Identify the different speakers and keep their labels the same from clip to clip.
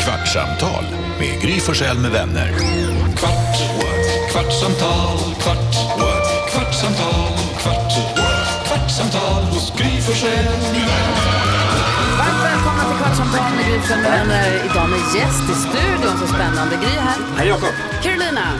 Speaker 1: Kvartsamtal med Gry Forssell med vänner. Kvart, what? kvartsamtal, kvart, what? kvartsamtal, kvart, what? kvartsamtal hos Gry Forssell med vänner.
Speaker 2: Varmt välkomna till Kvartsamtal med Gry Forssell. eh, Idag med gäst i studion. Så spännande. Gry här. Hej Jakob. Carolina.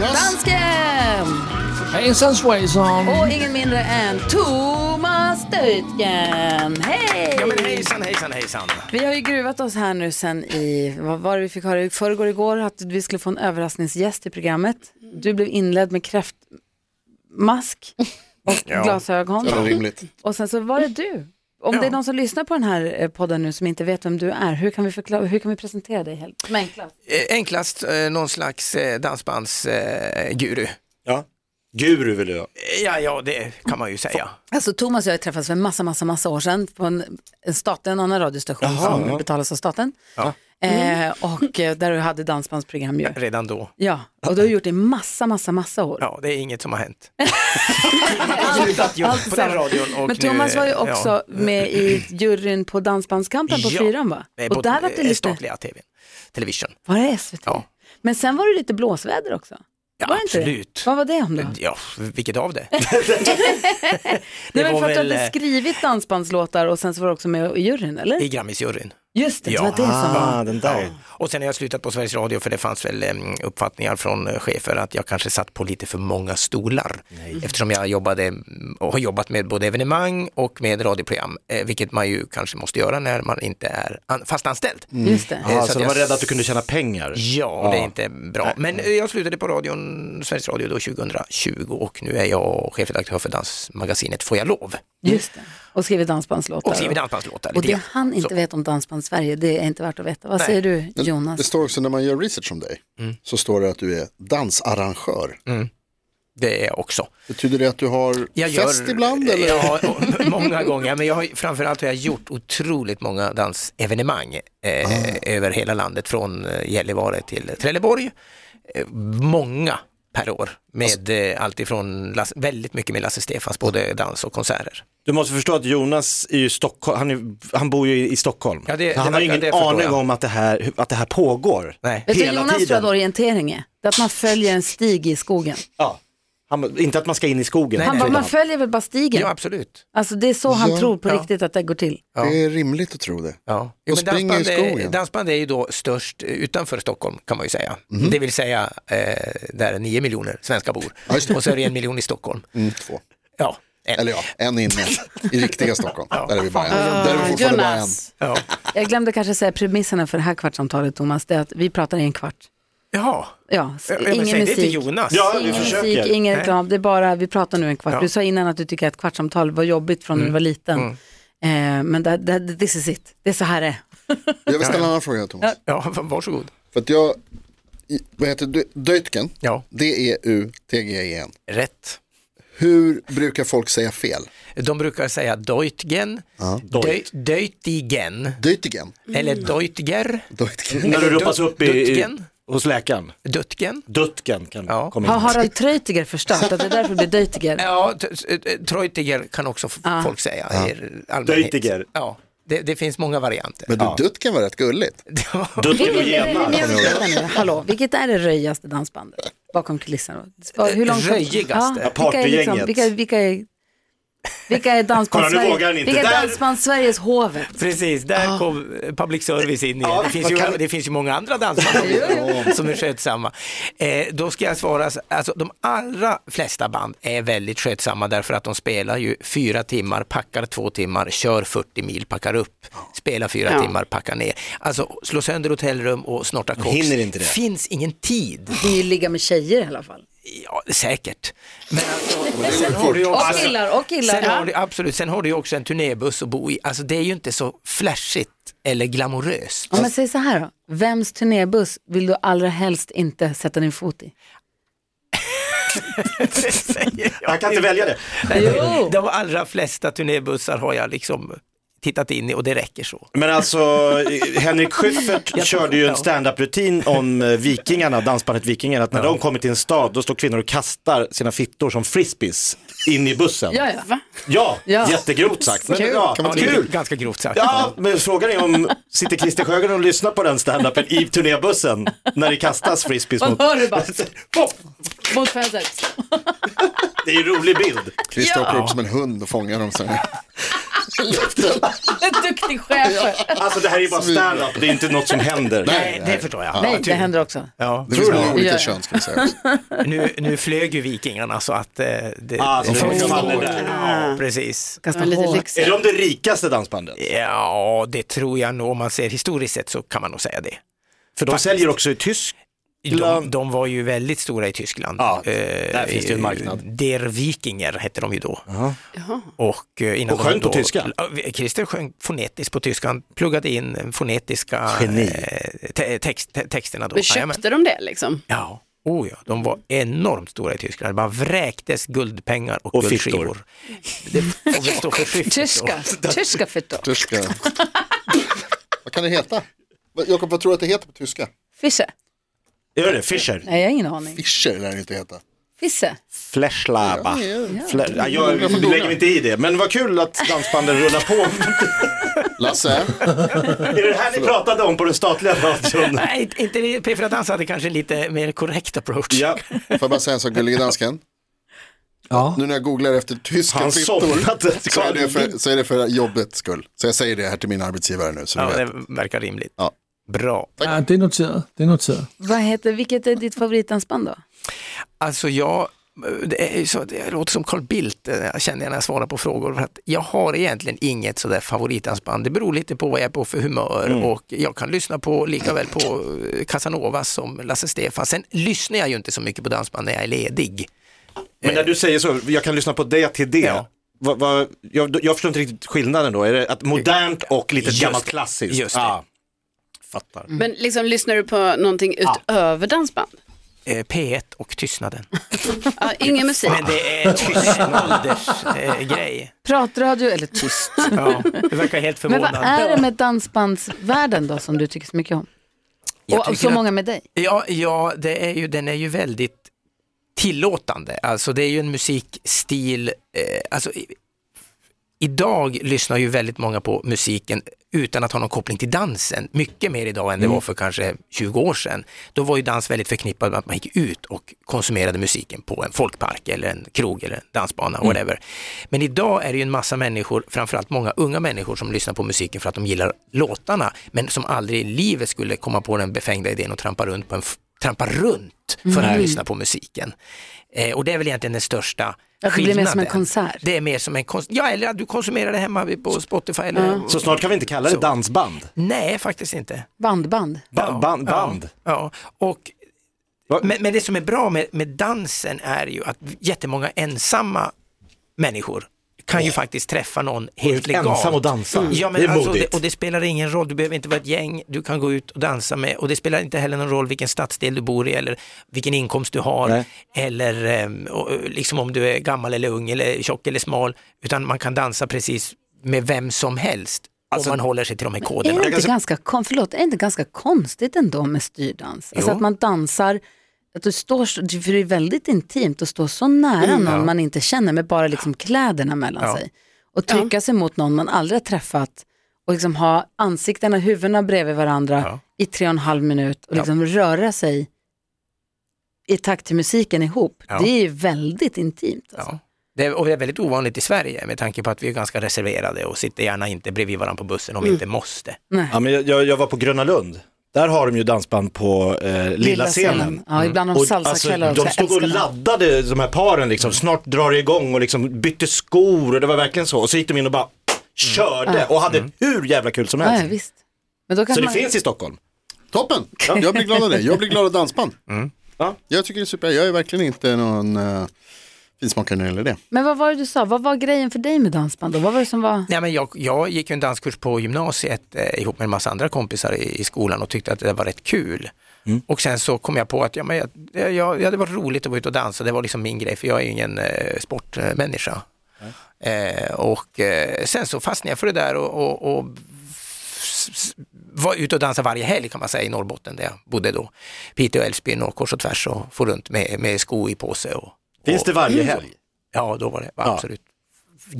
Speaker 2: Dansken.
Speaker 3: Hejsan svejsan!
Speaker 2: Och ingen mindre än Thomas Deutgen. Hej!
Speaker 4: Ja men hejsan, hejsan, hejsan.
Speaker 2: Vi har ju gruvat oss här nu sen i, vad var det vi fick höra i förrgår igår, att vi skulle få en överraskningsgäst i programmet. Du blev inledd med kräftmask och glasögon.
Speaker 5: rimligt.
Speaker 2: Och sen så var det du. Om det är någon som lyssnar på den här eh, podden nu som inte vet vem du är, hur kan vi, förklara, hur kan vi presentera dig helt som enklast?
Speaker 4: Eh, Enklast eh, någon slags eh, dansbandsguru.
Speaker 5: Ja. Guru vill jag.
Speaker 4: Eh, Ja, ja, det kan man ju säga.
Speaker 2: Alltså Thomas och jag träffades för massa, massa, massa år sedan på en, en, stat, en annan radiostation som
Speaker 5: ja.
Speaker 2: betalas av staten.
Speaker 4: Ja.
Speaker 2: Eh, och eh, där du hade dansbandsprogram ju.
Speaker 4: Redan då.
Speaker 2: Ja, och du har gjort det i massa, massa, massa år.
Speaker 4: Ja, det är inget som har hänt. Slutat ju
Speaker 2: allt
Speaker 4: på
Speaker 2: samma.
Speaker 4: den radion och
Speaker 2: Men Thomas
Speaker 4: nu,
Speaker 2: var ju
Speaker 4: ja.
Speaker 2: också med i juryn på Dansbandskampen på
Speaker 4: Ja.
Speaker 2: fyran va?
Speaker 4: Nej,
Speaker 2: Och
Speaker 4: på
Speaker 2: där var det
Speaker 4: eh,
Speaker 2: lite,
Speaker 4: Statliga TVn. Television.
Speaker 2: var det SVT?
Speaker 4: Ja.
Speaker 2: Men sen var det lite blåsväder också.
Speaker 4: Ja,
Speaker 2: var det inte
Speaker 4: absolut.
Speaker 2: Det? Vad var det om då?
Speaker 4: Ja, vilket av det?
Speaker 2: Det var ju
Speaker 4: var
Speaker 2: för att du
Speaker 4: väl,
Speaker 2: hade
Speaker 4: eh,
Speaker 2: skrivit dansbandslåtar och sen så var du också med i juryn eller?
Speaker 4: I Grammisjuryn.
Speaker 2: Just det, det
Speaker 4: Ja.
Speaker 2: var det som var.
Speaker 5: den där.
Speaker 4: Och sen har jag slutat på Sveriges Radio för det fanns väl eh, uppfattningar från eh, chefer att jag kanske satt på lite för många stolar. Eftersom jag jobbade mm, och har jobbat med både evenemang och med radioprogram, eh, vilket man ju kanske måste göra när man inte är an- fast anställd.
Speaker 2: Just det.
Speaker 4: Eh,
Speaker 5: Ah,
Speaker 4: så
Speaker 5: så
Speaker 4: att
Speaker 5: de var
Speaker 4: jag-
Speaker 5: rädda att du kunde tjäna pengar.
Speaker 4: Ja, det är inte bra. Men eh, jag slutade på radion, Sveriges Radio då 2020 och nu är jag chefredaktör för dansmagasinet Får jag lov?
Speaker 2: Just det. Och skrivit dansbandslåtar.
Speaker 4: Och skriver dansbandslåtar.
Speaker 2: Och
Speaker 4: lite
Speaker 2: det
Speaker 4: grann.
Speaker 2: han inte
Speaker 4: Så.
Speaker 2: vet om Dansband Sverige, det är inte värt att veta. Vad säger du
Speaker 6: Men Det
Speaker 2: Jonas?
Speaker 6: står också när man gör research om dig,
Speaker 4: Mm.
Speaker 6: så står det att du är dansarrangör.
Speaker 4: Det är jag också.
Speaker 6: Betyder det att du har fest ibland? Eller?
Speaker 4: Ja, och- många gånger. Men jag har, ju- framförallt har jag gjort otroligt många dansevenemang eh,
Speaker 6: Ah.
Speaker 4: över hela landet, från eh, Gällivare till Trelleborg. Eh, många per år,
Speaker 6: Alltså-
Speaker 4: med eh, alltifrån Lasse, väldigt mycket med Lasse Stefans både dans och konserter.
Speaker 5: Du måste förstå att Jonas är ju Stockholm, han, är, han bor ju i Stockholm.
Speaker 4: Ja, det-
Speaker 5: Så han
Speaker 4: det
Speaker 5: har ju
Speaker 4: verkar-
Speaker 5: ingen
Speaker 4: det förstår
Speaker 5: aning
Speaker 4: jag.
Speaker 5: om att det här, att det här pågår.
Speaker 4: Nej.
Speaker 2: Vet du
Speaker 5: hela
Speaker 2: Jonas tror
Speaker 5: tiden.
Speaker 2: att orientering är? Det är att man följer en stig i skogen.
Speaker 5: Ja. Han, inte att man ska in i skogen.
Speaker 4: Nej,
Speaker 2: Han bara,
Speaker 4: nej.
Speaker 2: man följer väl bara stigen?
Speaker 4: Ja, absolut.
Speaker 2: Alltså det är så han
Speaker 6: Ja.
Speaker 2: tror på
Speaker 4: Ja.
Speaker 2: riktigt att det går till.
Speaker 6: Det är rimligt att tro det.
Speaker 4: Ja.
Speaker 6: Och springer i
Speaker 4: dansband, är,
Speaker 6: skogen.
Speaker 4: dansband är ju då störst eh, utanför Stockholm kan man ju säga.
Speaker 6: Mhm.
Speaker 4: Det vill säga eh, där 9 miljoner svenskar bor.
Speaker 6: Ja, just det.
Speaker 4: Och så är det en miljon i Stockholm.
Speaker 6: Mm, två.
Speaker 4: Ja, en.
Speaker 6: Eller ja, en inne i riktiga Stockholm. Där är vi bara en. Där är vi fortfarande bara en.
Speaker 2: Jonas,
Speaker 4: Ja.
Speaker 2: jag glömde kanske säga premisserna för det här kvartsamtalet Thomas, det är att vi pratar i en kvart.
Speaker 4: Jaha,
Speaker 2: Ja, s-
Speaker 4: Ja, men
Speaker 2: ingen
Speaker 4: säg det till
Speaker 2: musik.
Speaker 4: Jonas.
Speaker 5: Ja, vi
Speaker 2: Ingen
Speaker 5: försöker.
Speaker 2: musik, ingen
Speaker 4: Nej.
Speaker 2: reklam, det är bara, vi pratar nu en kvart.
Speaker 4: Ja. Mm.
Speaker 2: Du sa innan att du tycker att kvartsamtal var jobbigt från när du var liten. Eh, men det, det, this is it, det är så här det är.
Speaker 6: Jag vill ställa en annan fråga Thomas.
Speaker 4: Ja, varsågod.
Speaker 6: För att jag, i- vad heter det, Deutgen?
Speaker 4: Ja.
Speaker 6: D-E-U-T-G-E-N.
Speaker 4: Rätt.
Speaker 6: E Hur brukar folk säga fel?
Speaker 4: De brukar säga Deutgen, Deut- Deutigen
Speaker 6: Deutgen.
Speaker 4: eller Deutger,
Speaker 6: Deutgen.
Speaker 5: När du
Speaker 4: Eller
Speaker 5: ropas
Speaker 4: dutt-
Speaker 5: upp i, i,
Speaker 4: duttgen.
Speaker 5: hos läkaren.
Speaker 4: Dutgen.
Speaker 5: Duttgen kan
Speaker 4: Ja.
Speaker 5: komma in.
Speaker 2: Har Harald Treutiger förstört att det är därför det blir Deutiger?
Speaker 4: Ja, t- eh, Treutiger kan också f- folk säga i allmänhet.
Speaker 5: Deutiger.
Speaker 4: Ja, det, det finns många varianter.
Speaker 6: Men du, Deutgen var rätt gulligt.
Speaker 5: Duttgen och
Speaker 2: Men jag
Speaker 5: genar.
Speaker 2: vill veta nu, Hallå, vilket är det röjigaste dansbandet bakom kulisserna? Hur långt
Speaker 4: Röjigaste?
Speaker 2: vilka, är liksom,
Speaker 5: Partygänget.
Speaker 2: vilka, vilka är, vilka är dansband
Speaker 5: Kolla, nu vågar
Speaker 2: Sverige?
Speaker 5: han inte.
Speaker 2: Vilka är
Speaker 5: Där-
Speaker 2: dansband Sveriges hovet?
Speaker 4: Precis,
Speaker 5: Ah.
Speaker 4: där kom public service in igen. det, finns ju, det finns ju många andra dansband som är skötsamma. Eh, då ska jag svara, så- alltså, de allra flesta band är väldigt skötsamma därför att de spelar ju fyra timmar, packar två timmar, kör 40 mil, packar upp, spelar fyra timmar, packar ner. Alltså slå sönder hotellrum och snorta koks.
Speaker 5: Hinner inte det.
Speaker 4: finns ingen tid.
Speaker 2: Det är ju ligga med tjejer i alla fall.
Speaker 4: Ja, säkert. Men alltså, sen har du ju
Speaker 2: Och
Speaker 4: också-
Speaker 2: killar, och killar.
Speaker 4: Sen har du, absolut, sen har du ju också en turnébuss att bo i. Alltså det är ju inte så flashigt eller glamoröst.
Speaker 2: Om jag säger så här då, vems turnébuss vill du allra helst inte sätta din fot i?
Speaker 4: Det säger jag.
Speaker 5: Han kan inte välja det.
Speaker 4: Nej,
Speaker 2: Jo.
Speaker 4: De allra flesta turnébussar har jag liksom tittat in i och det räcker så.
Speaker 5: Men alltså, eh, Henrik Schyffert
Speaker 4: Jag tror-
Speaker 5: körde ju
Speaker 4: ja.
Speaker 5: en stand-up-rutin om eh, vikingarna, dansbandet Vikingarna, att när de kommer till en stad då står kvinnor och kastar sina fittor som frisbees in i bussen.
Speaker 2: Ja, ja.
Speaker 7: Va?
Speaker 5: Ja,
Speaker 2: Ja.
Speaker 5: jättegrovt sagt. Men,
Speaker 2: Kul.
Speaker 5: ja,
Speaker 6: Kan man
Speaker 5: kul.
Speaker 6: tycka.
Speaker 4: Ganska grovt sagt.
Speaker 5: Ja, men frågan är om sitter Christer Sjögren och lyssnar på den standupen i turnébussen när det kastas frisbees
Speaker 2: Man
Speaker 5: mot...
Speaker 2: hör det bara
Speaker 5: Pop!
Speaker 2: mot fönstret.
Speaker 5: Det är en rolig bild.
Speaker 6: Christer åker upp som en hund och fångar dem sen.
Speaker 2: En duktig chef.
Speaker 5: Alltså det här är ju bara standup, det är inte något som händer.
Speaker 4: Nej, det förstår jag.
Speaker 2: Nej, det händer också.
Speaker 4: Ja.
Speaker 6: Det finns många
Speaker 2: Ja, ja.
Speaker 6: olika kön ska vi säga.
Speaker 4: Nu, nu flög ju vikingarna så att eh, det...
Speaker 5: Ah, så
Speaker 4: det
Speaker 5: de
Speaker 4: funkar.
Speaker 5: faller där.
Speaker 4: Ja, precis.
Speaker 2: Kasta
Speaker 7: Ja, lite
Speaker 2: hårt.
Speaker 7: lyx.
Speaker 5: Är de det rikaste dansbandet?
Speaker 4: Ja, det tror jag nog. Om man ser historiskt sett så kan man nog säga det.
Speaker 5: För de
Speaker 4: Faktiskt.
Speaker 5: säljer också i tysk.
Speaker 4: De, de var ju väldigt stora i Tyskland.
Speaker 5: Ja,
Speaker 4: Eh,
Speaker 5: där finns det ju en marknad.
Speaker 4: Der Vikinger hette de ju då. Och, eh, innan
Speaker 5: Och sjöng
Speaker 4: de
Speaker 5: på
Speaker 4: då,
Speaker 5: tyska?
Speaker 4: Ja, vi- Christer sjöng fonetiskt på tyska. Han pluggade in fonetiska
Speaker 5: Geni.
Speaker 4: eh, te, text, te, texterna då.
Speaker 7: Men
Speaker 4: Jajamän.
Speaker 7: köpte de det liksom?
Speaker 4: Ja, oh ja, de var enormt stora i Tyskland. Det bara vräktes guldpengar och,
Speaker 5: Och
Speaker 4: guldskivor. Det får väl stå för skiftet.
Speaker 2: Tyska, tyska fittor.
Speaker 6: Tyska. vad kan det heta? Vad- Jakob, vad tror du att det heter på tyska?
Speaker 2: Fisse?
Speaker 5: Gör det? Fischer?
Speaker 2: Nej, jag har ingen aning.
Speaker 6: Fischer lär det inte heta.
Speaker 2: Fisse?
Speaker 5: Flashlaba.
Speaker 6: Ja, ja.
Speaker 5: Fle- ja, jag lägger mig inte i det, men vad kul att dansbanden rullar på.
Speaker 6: Lasse,
Speaker 5: är det här ni pratade om på den statliga radion?
Speaker 4: Nej, inte det. P4 Dans hade kanske en lite mer korrekt approach.
Speaker 5: Ja,
Speaker 6: får jag bara säga en sak, gullige dansken?
Speaker 3: Ja.
Speaker 6: Nu när jag googlar efter tyska
Speaker 5: han
Speaker 6: fittor
Speaker 5: somnade.
Speaker 6: så är, det för, så är det för jobbets skull. Så jag säger det här till min arbetsgivare nu. Så ni
Speaker 4: Ja,
Speaker 6: vet.
Speaker 4: det verkar rimligt.
Speaker 6: Ja.
Speaker 4: Bra.
Speaker 3: Ja, det är noteret. Det är noteret.
Speaker 2: Vad heter, vilket är ditt favoritdansband då?
Speaker 4: Alltså jag, det, är ju så, det låter som Carl Bildt eh, känner jag när jag svarar på frågor. För att jag har egentligen inget sådär favoritdansband. Det beror lite på vad jag är på för humör och jag kan lyssna på lika väl på eh, Casanovas som Lasse Stefan. Sen lyssnar jag ju inte så mycket på dansband när jag är ledig.
Speaker 5: Men när du säger så, jag kan lyssna på det till det.
Speaker 4: Ja.
Speaker 5: Vad- vad- jag, jag förstår inte riktigt skillnaden då. Är det att modernt och lite
Speaker 4: Just
Speaker 5: gammalt
Speaker 4: det.
Speaker 5: klassiskt?
Speaker 4: Just det.
Speaker 5: Ah, fattar.
Speaker 4: Mm.
Speaker 7: Men liksom lyssnar du på någonting utöver dansband?
Speaker 4: Eh, P1 och Tystnaden.
Speaker 7: Ja, ingen musik.
Speaker 4: Men det är tyst åldersgrej. Eh, grej.
Speaker 2: Pratradio eller tyst?
Speaker 4: ja, du verkar helt
Speaker 2: Men vad
Speaker 4: förvånad.
Speaker 2: är det med dansbandsvärlden då som du tycker så mycket om?
Speaker 4: Jag
Speaker 2: Och
Speaker 4: tycker
Speaker 2: så
Speaker 4: att-
Speaker 2: många med dig?
Speaker 4: Ja, ja det är ju, den är ju väldigt tillåtande. Alltså det är ju en musikstil. Eh, alltså, i, idag lyssnar ju väldigt många på musiken utan att ha någon koppling till dansen. Mycket mer idag än
Speaker 2: Mm.
Speaker 4: det var för kanske 20 år sedan. Då var ju dans väldigt förknippad med att man gick ut och konsumerade musiken på en folkpark eller en krog eller en dansbana,
Speaker 2: Mm.
Speaker 4: whatever. Men idag är det ju en massa människor, framförallt många unga människor som lyssnar på musiken för att de gillar låtarna, men som aldrig i livet skulle komma på den befängda idén att trampa runt, på en f- trampa runt för att lyssna på musiken. Eh, och det är väl egentligen den största
Speaker 2: Mm. Att det blir mer som en konsert.
Speaker 4: det är mer som en konst... Ja, eller att du konsumerar det hemma vid- på Spotify. Eller...
Speaker 5: Mm. Så snart kan vi inte kalla det
Speaker 4: Så.
Speaker 5: dansband.
Speaker 4: Nej, faktiskt inte.
Speaker 2: Bandband?
Speaker 5: Ba- band. band.
Speaker 4: Ja. Och,
Speaker 5: Va?
Speaker 4: men, men det som är bra med, med dansen är ju att jättemånga ensamma människor kan ju faktiskt träffa någon helt legalt.
Speaker 5: Ensam och dansa.
Speaker 4: Ja, men
Speaker 5: det är
Speaker 4: alltså, det,
Speaker 5: modigt.
Speaker 4: och det spelar ingen roll, du behöver inte vara ett gäng, du kan gå ut och dansa med och det spelar inte heller någon roll vilken stadsdel du bor i eller vilken inkomst du har
Speaker 5: Nej.
Speaker 4: eller ehm, och, och, liksom om du är gammal eller ung eller tjock eller smal utan man kan dansa precis med vem som helst
Speaker 5: Alltså-
Speaker 4: om man håller sig till de här
Speaker 2: Är
Speaker 4: koderna.
Speaker 2: det, inte
Speaker 5: ganska-
Speaker 2: ganska, kon- förlåt, är det inte ganska konstigt ändå med styrdans? Alltså
Speaker 4: Jo.
Speaker 2: att man dansar, att du står, så- för det är väldigt intimt att stå så nära någon man inte känner med bara liksom kläderna mellan
Speaker 4: Ja.
Speaker 2: sig. Och trycka sig mot någon man aldrig har träffat och liksom ha ansiktena, huvudena bredvid varandra
Speaker 4: Ja.
Speaker 2: i tre och en halv minut och liksom röra sig i takt till musiken ihop.
Speaker 4: Ja.
Speaker 2: Det är ju väldigt intimt. Alltså.
Speaker 4: Ja. Det är, och det är väldigt ovanligt i Sverige med tanke på att vi är ganska reserverade och sitter gärna inte bredvid varandra på bussen om vi inte måste.
Speaker 5: Ja, men jag- jag, jag var på Gröna Lund. Där har de ju dansband på eh, lilla, scenen. Mm.
Speaker 2: Ja, ibland om
Speaker 5: Och, alltså,
Speaker 2: salsakvällar
Speaker 5: de
Speaker 2: också.
Speaker 5: stod och
Speaker 2: Jag älskar det.
Speaker 5: laddade de här paren liksom, snart drar det igång och liksom bytte skor och det var verkligen så. Och så gick de in och bara körde och hade hur jävla kul som helst.
Speaker 2: Mm. Ja, ja, visst. Men då
Speaker 5: så
Speaker 2: kanske
Speaker 5: det
Speaker 2: man...
Speaker 5: finns i Stockholm.
Speaker 6: toppen! Jag blir glad av det. Jag blir glad av dansband.
Speaker 5: Ja.
Speaker 6: Jag tycker det är super. Jag är verkligen inte någon uh, finsmakare när det gäller det.
Speaker 2: Men vad var det du sa, vad var grejen för dig med dansband då? Vad var det som var...
Speaker 4: Nej, men jag, jag gick ju en danskurs på gymnasiet eh, ihop med en massa andra kompisar i, i skolan och tyckte att det där var rätt kul. Och sen så kom jag på att ja, men jag, jag, ja, det var roligt att vara ute och dansa, det var liksom min grej för jag är ju ingen eh, sportmänniska. Eh, och eh, sen så fastnade jag för det där och, och, och s- s- var ute och dansade varje helg kan man säga i Norrbotten där jag bodde då. Piteå, Älvsbyn och kors och tvärs och for runt med, med sko i påse. Och,
Speaker 5: Finns
Speaker 4: och,
Speaker 5: det
Speaker 2: Mm.
Speaker 5: varje helg?
Speaker 4: Ja, då var det absolut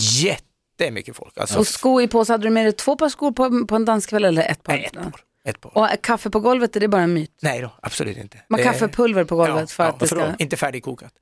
Speaker 4: jättemycket folk. Alltså,
Speaker 2: Och sko i påse, hade du med dig två par skor på, på en danskväll eller ett par?
Speaker 4: Nej, ett par. Ett par.
Speaker 2: Och kaffe på golvet, är det bara en myt?
Speaker 4: Nej då, absolut inte. Eh,
Speaker 2: Man
Speaker 4: Det-
Speaker 2: kaffepulver på golvet för att det
Speaker 4: då?
Speaker 2: ska...
Speaker 4: Inte färdigkokat.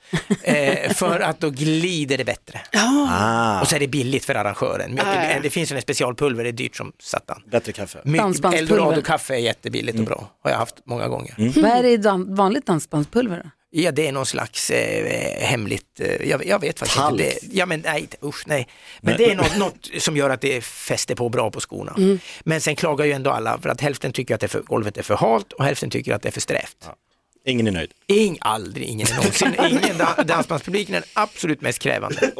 Speaker 4: eh, för att då glider det bättre.
Speaker 5: Ah,
Speaker 4: Och så är det billigt för arrangören. Mycket,
Speaker 7: Ah, ja.
Speaker 4: Det finns ju en specialpulver, det är dyrt som satan.
Speaker 5: Bättre kaffe.
Speaker 4: Mycket-
Speaker 2: Dansbandspulver.
Speaker 4: Eldorado-kaffe är jättebilligt och bra, har jag haft många gånger.
Speaker 2: Vad är det i dan- vanligt dansbandspulver då?
Speaker 4: Ja, det är någon slags eh, hemligt, eh, jag, jag vet faktiskt
Speaker 5: Talg.
Speaker 4: inte. Det, ja, men nej, usch, nej. Men det är något, något som gör att det fäster på bra på skorna.
Speaker 2: Mm.
Speaker 4: Men sen klagar ju ändå alla för att hälften tycker att det är för, golvet är för halt och hälften tycker att det är för strävt.
Speaker 5: Ingen är nöjd.
Speaker 4: Ing, aldrig, ingen är någonsin. Ingen, da- dansbandspubliken är den absolut mest krävande.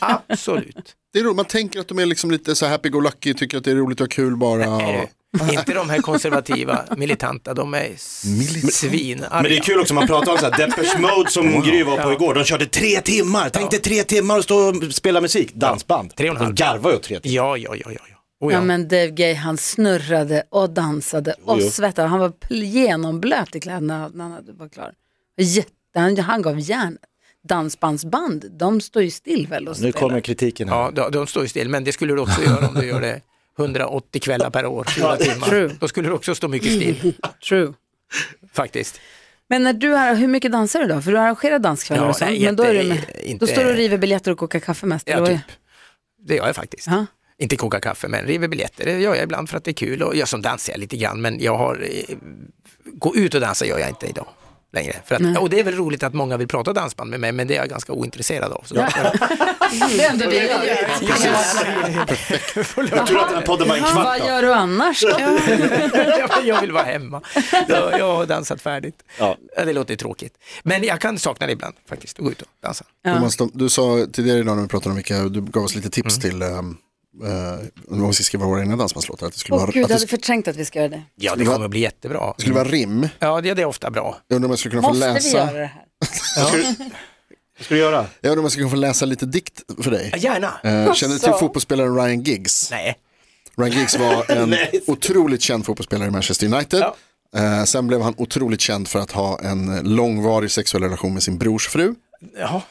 Speaker 4: Absolut.
Speaker 6: Det är roligt, man tänker att de är liksom lite så happy-go-lucky, tycker att det är roligt och ha kul bara.
Speaker 4: Är det. Inte de här konservativa, militanta, de är svin.
Speaker 5: Men det är kul också, man pratar om så här, Depeche Mode som Gry var på igår, de körde tre timmar, tänk dig tre timmar och stå och spela musik, dansband.
Speaker 4: Tre och en halv.
Speaker 5: De garvar ju åt tre timmar.
Speaker 4: Ja, ja, ja, ja. ja. Oh,
Speaker 2: Ja
Speaker 4: ja. Oh,
Speaker 2: men Dave Gay han snurrade och dansade och
Speaker 5: jo.
Speaker 2: svettade. Han var pl- genomblöt i kläderna när han hade- var klar. Jätte, han, han gav järnet. Dansbandsband, de står ju still väl och
Speaker 5: Nu
Speaker 2: spelar.
Speaker 5: kommer kritiken här.
Speaker 4: ja de, de står ju still, men det skulle du också göra om du gör det 180 kvällar per år, 4
Speaker 2: True.
Speaker 4: timmar. Då skulle du också stå mycket still,
Speaker 2: True.
Speaker 4: faktiskt.
Speaker 2: Men när du har, hur mycket dansar du då? För du arrangerar danskvällar
Speaker 4: Ja,
Speaker 2: och sånt.
Speaker 4: nej,
Speaker 2: men då, är du
Speaker 4: jätte-
Speaker 2: med,
Speaker 4: inte-
Speaker 2: då står du och river biljetter och kokar kaffe mest. eller
Speaker 4: Ja,
Speaker 2: vad är-
Speaker 4: typ. Det gör jag faktiskt.
Speaker 2: Ja.
Speaker 4: Inte koka kaffe, men river biljetter. Det gör jag ibland för att det är kul. Och jag som dansar jag lite grann, men jag har... eh, Gå ut och dansa gör jag inte idag längre. För att, och det är väl roligt att många vill prata dansband med mig, men det är jag ganska ointresserad av. Så
Speaker 2: Det är ändå det vi gör.
Speaker 5: Jag tror att den här podden var en kvart
Speaker 2: Vad
Speaker 5: då.
Speaker 2: gör du annars då?
Speaker 4: jag, jag vill vara hemma. Jag, jag har dansat färdigt.
Speaker 5: Ja.
Speaker 4: Ja, det låter tråkigt. Men jag kan sakna det ibland faktiskt, att gå ut och dansa.
Speaker 6: Thomas, de, du sa tidigare idag när vi pratade om vilka, du gav oss lite tips till um, uh, om vi ska skriva våra egna dansbandslåtar. Att det skulle,
Speaker 2: Åh
Speaker 6: vara,
Speaker 2: gud, jag
Speaker 6: att det
Speaker 2: hade
Speaker 6: sk-
Speaker 2: förträngt att vi ska göra det.
Speaker 4: Ja, det kommer att bli jättebra.
Speaker 6: skulle vara rim.
Speaker 4: Ja, det, det är ofta bra.
Speaker 6: Jag undrar om jag skulle kunna få
Speaker 2: Måste vi göra
Speaker 6: läsa.
Speaker 2: det här?
Speaker 5: Vad ska du göra?
Speaker 6: Jag undrar om jag skulle kunna få läsa lite dikt för dig.
Speaker 4: Ja, Gärna.
Speaker 2: Alltså.
Speaker 6: Eh, känner du till fotbollsspelaren Ryan Giggs?
Speaker 4: Nej.
Speaker 6: Ryan Giggs var en otroligt känd fotbollsspelare i Manchester United. Eh, sen blev han otroligt känd för att ha en långvarig sexuell relation med sin brors fru.
Speaker 4: Ja.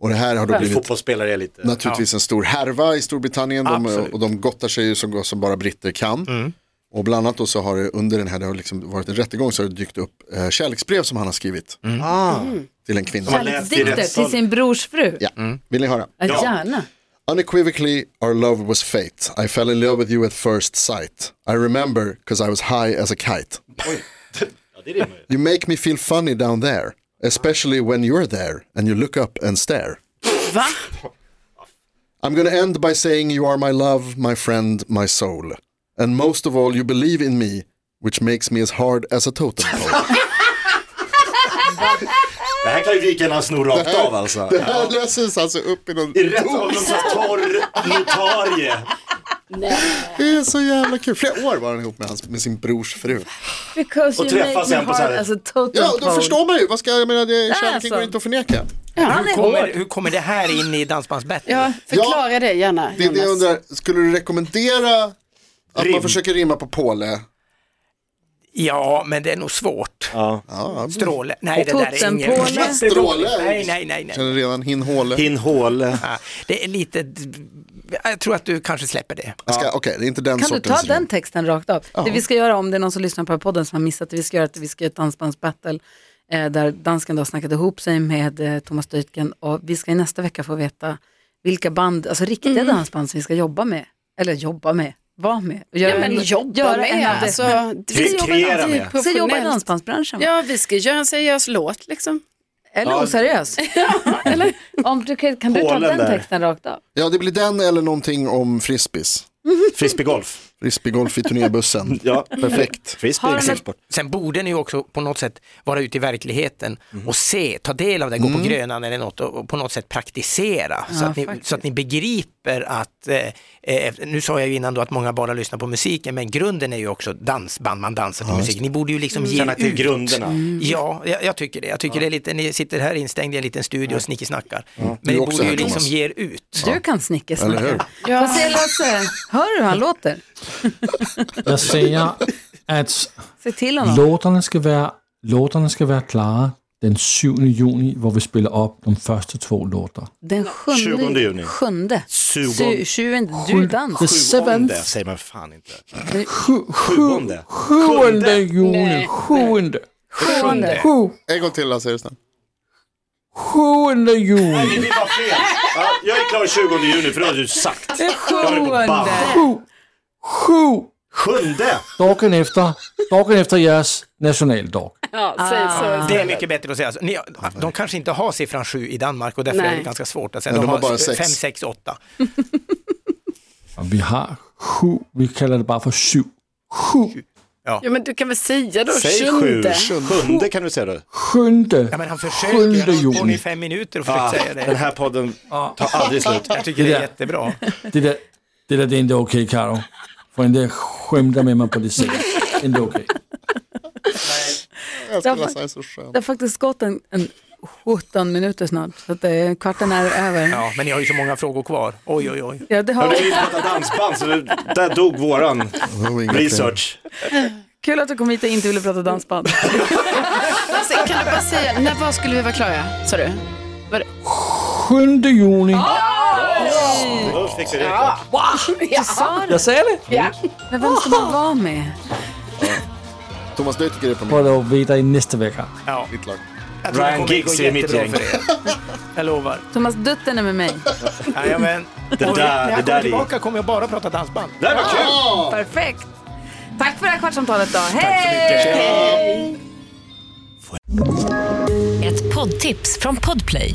Speaker 6: Och det här har då blivit
Speaker 5: Fotbollsspelare är lite...
Speaker 6: naturligtvis en stor härva i Storbritannien. De,
Speaker 4: Absolut.
Speaker 6: och de gottar sig ju så gott som bara britter kan. Och bland annat då så har det under den här, det har liksom varit en rättegång, så har det dykt upp eh, kärleksbrev som han har skrivit. Mm. Till en kvinna.
Speaker 5: läst i
Speaker 2: Kärleksdikter
Speaker 5: rättssal.
Speaker 2: till sin brors fru?
Speaker 6: Ja. Vill ni höra?
Speaker 2: Ja, gärna.
Speaker 6: Unequivocally, our love was fate. I fell in love with you at first sight. I remember because I was high as a kite. you make me feel funny down there, especially when you're there and you look up and stare.
Speaker 7: Va?
Speaker 6: I'm going to end by saying you are my love, my friend, my soul. And most of all, you believe in me, which makes me as hard as a totem pole.
Speaker 5: Det här kan ju vikarna sno rakt av alltså.
Speaker 6: Det här löses alltså upp i någon...
Speaker 5: I rätt av någon sån här torr notarie.
Speaker 6: Det är så jävla kul. Flera år var han ihop med, hans, med sin brors fru.
Speaker 2: Because
Speaker 5: Och träffas igen på så här-
Speaker 2: Alltså, total
Speaker 6: Ja, då
Speaker 2: pole.
Speaker 6: förstår man ju. Vad ska jag, jag menar, det, kärleken går
Speaker 2: Alltså.
Speaker 6: inte att förneka.
Speaker 7: Ja,
Speaker 4: Hur kommer, hur kommer det här in i Dansbandsbattle?
Speaker 7: ja förklara det gärna.
Speaker 6: Det är det jag
Speaker 7: Jonas.
Speaker 6: undrar, skulle du rekommendera att
Speaker 5: Rim.
Speaker 6: man försöker rimma på påle?
Speaker 4: Ja, men det är nog svårt.
Speaker 6: Ja,
Speaker 4: Stråle. Nej, det där är ingen...
Speaker 2: Totempåle.
Speaker 6: Stråle.
Speaker 4: Nej, nej, nej. nej.
Speaker 6: känner redan hinhåle.
Speaker 5: Hin håle.
Speaker 4: Ja, Det är lite... Jag tror att du kanske släpper det.
Speaker 6: Jag ska- Okej, det är inte den
Speaker 2: Kan du
Speaker 6: sortens
Speaker 2: ta den
Speaker 6: rim.
Speaker 2: texten rakt av? Det vi ska göra om det är någon som lyssnar på den här podden som har missat det, vi ska göra att vi ska göra ett dansbandsbattle eh, där dansken då har snackat ihop sig med eh, Thomas Deutgen och vi ska i nästa vecka få veta vilka band, alltså riktiga
Speaker 7: Mm.
Speaker 2: dansband som vi ska jobba med, eller jobba med, vara med. Och göra
Speaker 7: Ja, men
Speaker 2: en-
Speaker 7: jobba
Speaker 2: göra en
Speaker 7: med.
Speaker 2: av det.
Speaker 7: Alltså,
Speaker 5: Vi
Speaker 7: vi jobbar
Speaker 5: kreerar
Speaker 7: alltid
Speaker 5: med.
Speaker 2: Vi ska jobba i
Speaker 7: professionellt.
Speaker 2: dansbandsbranschen, va?
Speaker 7: Ja, vi ska göra en seriös låt liksom.
Speaker 2: eller oseriös. Om du, kan kan du ta den
Speaker 5: Hålen där.
Speaker 2: texten rakt av?
Speaker 6: Ja, det blir den eller någonting om frisbees.
Speaker 5: Frisbeegolf.
Speaker 6: Frisbeegolf i turnébussen.
Speaker 5: Ja.
Speaker 6: Perfekt.
Speaker 5: Frisbee
Speaker 2: Har
Speaker 5: är
Speaker 2: den
Speaker 5: en
Speaker 2: en-
Speaker 5: sport.
Speaker 4: Sen borde ni ju också på något sätt vara ute i verkligheten och se, ta del av det, gå på Grönan eller något och och på något sätt praktisera så,
Speaker 2: Ja,
Speaker 4: att ni,
Speaker 2: faktiskt.
Speaker 4: så att ni begriper att, eh, eh, nu sa jag ju innan då att många bara lyssnar på musiken, men grunden är ju också dansband, man dansar till musik. Ni borde ju liksom ge
Speaker 5: Mm. Känna
Speaker 4: er
Speaker 5: till
Speaker 4: ut.
Speaker 5: grunderna.
Speaker 4: Ja, jag, jag tycker det. Jag tycker det är lite, ni sitter här instängd i en liten studio och snickesnackar.
Speaker 6: Du
Speaker 4: Men ni
Speaker 6: också
Speaker 4: borde
Speaker 6: här,
Speaker 4: ju liksom
Speaker 6: Thomas.
Speaker 4: ge er ut.
Speaker 2: Du kan
Speaker 6: Eller hur?
Speaker 2: snickesnacka. Vad säger Lasse? Hör du hur han låter?
Speaker 3: Jag säger att
Speaker 2: Säg till honom.
Speaker 3: låtarna ska vara, låtarna ska vara klara den 7 juni, var vi spelar upp de första två låtarna.
Speaker 2: Den sjunde,
Speaker 5: 20 juni.
Speaker 2: Sjunde.
Speaker 5: Sjugon-
Speaker 2: Su- Tjugonde. Du
Speaker 3: The
Speaker 2: dans.
Speaker 3: seventh.
Speaker 5: Sjuonde säger man fan inte.
Speaker 3: Sju- sju-
Speaker 5: Sjunde.
Speaker 3: Sjunde juni.
Speaker 7: Nej.
Speaker 3: Sjunde.
Speaker 2: Sjunde.
Speaker 3: Sju-
Speaker 6: En gång till Lasse, är det snabbt.
Speaker 3: Sjunde juni.
Speaker 5: Det var fel. Ja, jag är klar 20 juni för då har du sagt. Jag har det på band.
Speaker 2: Sjunde.
Speaker 3: Sju. Sju.
Speaker 5: Sjunde.
Speaker 3: Dagen efter, dagen efter deras nationaldag.
Speaker 7: Ja, säg så.
Speaker 4: Det är mycket bättre att säga. så. Ni, de kanske inte har siffran 7 i Danmark och därför
Speaker 7: Nej.
Speaker 4: är det ganska svårt att säga.
Speaker 6: Nej,
Speaker 4: de har bara
Speaker 6: sex.
Speaker 4: 5, 6, 8.
Speaker 3: Och Vi har sju, vi kallar det bara för sju. Sju.
Speaker 7: Ja, men du kan väl säga då,
Speaker 5: Säg sju.
Speaker 7: sjunde.
Speaker 5: Sjunde kan du säga då.
Speaker 3: Sjunde.
Speaker 4: Ja, men han
Speaker 3: Sjunde
Speaker 4: försöker, han har hållit på
Speaker 3: juni.
Speaker 4: i fem minuter och
Speaker 5: Ah,
Speaker 4: försökt säga
Speaker 5: den
Speaker 4: det.
Speaker 5: här podden
Speaker 3: Ja.
Speaker 5: tar aldrig slut.
Speaker 4: Jag tycker det är
Speaker 3: Det där.
Speaker 4: jättebra.
Speaker 3: Det där, det där det är inte okej Karo. Får inte skämta med mig på det sättet. Inte okej.
Speaker 6: Jag älskar Lasse, han är så skön.
Speaker 2: Det har faktiskt gått en, en 17 minuter snart, så att det är, kvarten är över. Ja.
Speaker 4: Ja, men ni har ju så många frågor kvar. Oj, oj, oj.
Speaker 2: det
Speaker 5: Ja,
Speaker 2: har,
Speaker 5: det är ju pratat dansband så det, där dog våran
Speaker 6: Det var inga fler.
Speaker 5: research.
Speaker 2: kul att du kom hit och inte ville prata dansband.
Speaker 7: Lasse, kan du bara säga, när var skulle vi vara klara? Sa du? Var det?
Speaker 3: Sjunde juni.
Speaker 5: Då fick vi det klart.
Speaker 3: Jag säger det.
Speaker 2: Men vem ska man vara med?
Speaker 6: Thomas, du tycker det är på
Speaker 3: Får du veta i nästa vecka.
Speaker 4: Ja,
Speaker 6: mitt lag.
Speaker 4: jag tror det
Speaker 5: Ryan
Speaker 4: kommer gå
Speaker 5: Giggs är i mitt
Speaker 4: jättebra
Speaker 5: gäng.
Speaker 4: för er. Jag lovar.
Speaker 2: Thomas Dutten är med mig.
Speaker 4: Jajamän. Och
Speaker 5: där-
Speaker 4: när
Speaker 5: det
Speaker 4: jag
Speaker 5: där är-
Speaker 4: kommer tillbaka kommer jag bara prata dansband.
Speaker 5: Det här var kul.
Speaker 2: Perfekt. Tack för det här kvartsamtalet då. Hej!
Speaker 8: Ett poddtips från Podplay.